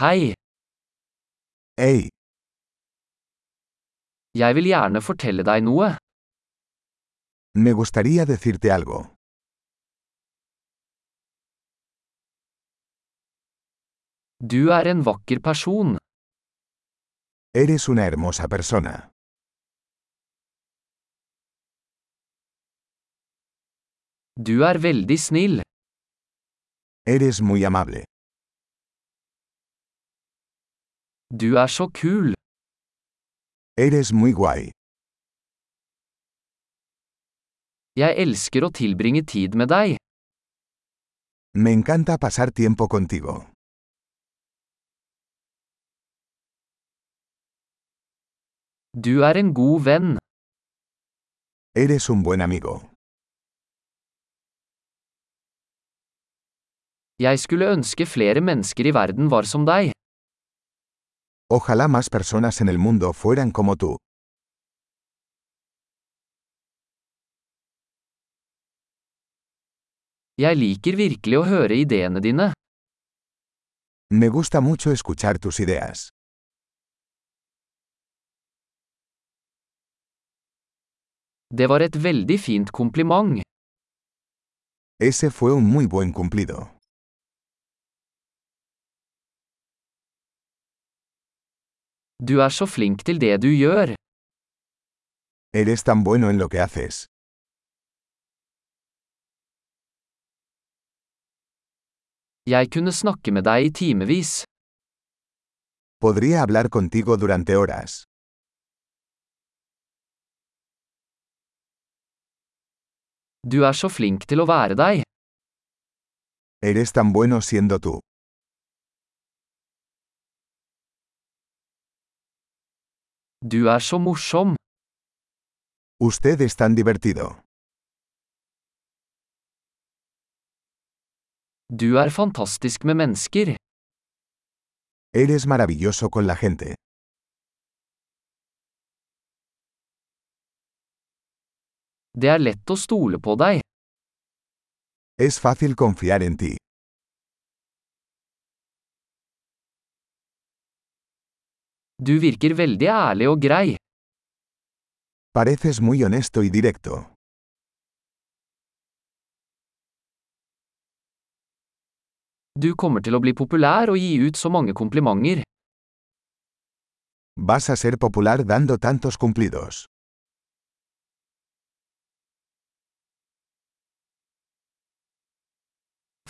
Hei, Hey, jeg vil gjerne fortelle deg noe. me gustaría decirte algo. Du er en vakker person. Eres una hermosa persona. Du er veldig snill. Eres muy amable. Du er så kul. Eres muy guay. Jeg elsker å tilbringe tid med deg. Me encanta pasar tiempo contigo. Du er en god venn. Eres un buen amigo. Jeg skulle ønske flere mennesker i verden var som deg. Ojalá más personas en el mundo fueran como tú. Jeg liker virkelig å høre ideene dine. Me gusta mucho escuchar tus ideas. Det var et veldig fint kompliment. Ese fue un muy buen cumplido. Du er så flink til det du gjør. Eres tan bueno en lo que haces. Jeg kunne snakke med deg i timevis. Podría hablar contigo durante horas. Du er så flink til å være deg. Eres tan bueno siendo tú. Du er så morsom. Usted es tan divertido. Du er fantastisk med mennesker. Eres maravilloso con la gente. Det er lett å stole på deg. Es fácil confiar en ti. Du virker veldig ærlig og grei. Pareces muy honesto y directo. Du kommer til å bli populær og gi ut så mange komplimenter. Vas a ser popular dando tantos cumplidos.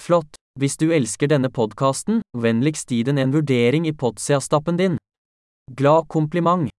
Flott! Hvis du elsker denne podkasten, vennligst gi den en vurdering i Potsia-stappen din. Glad kompliment!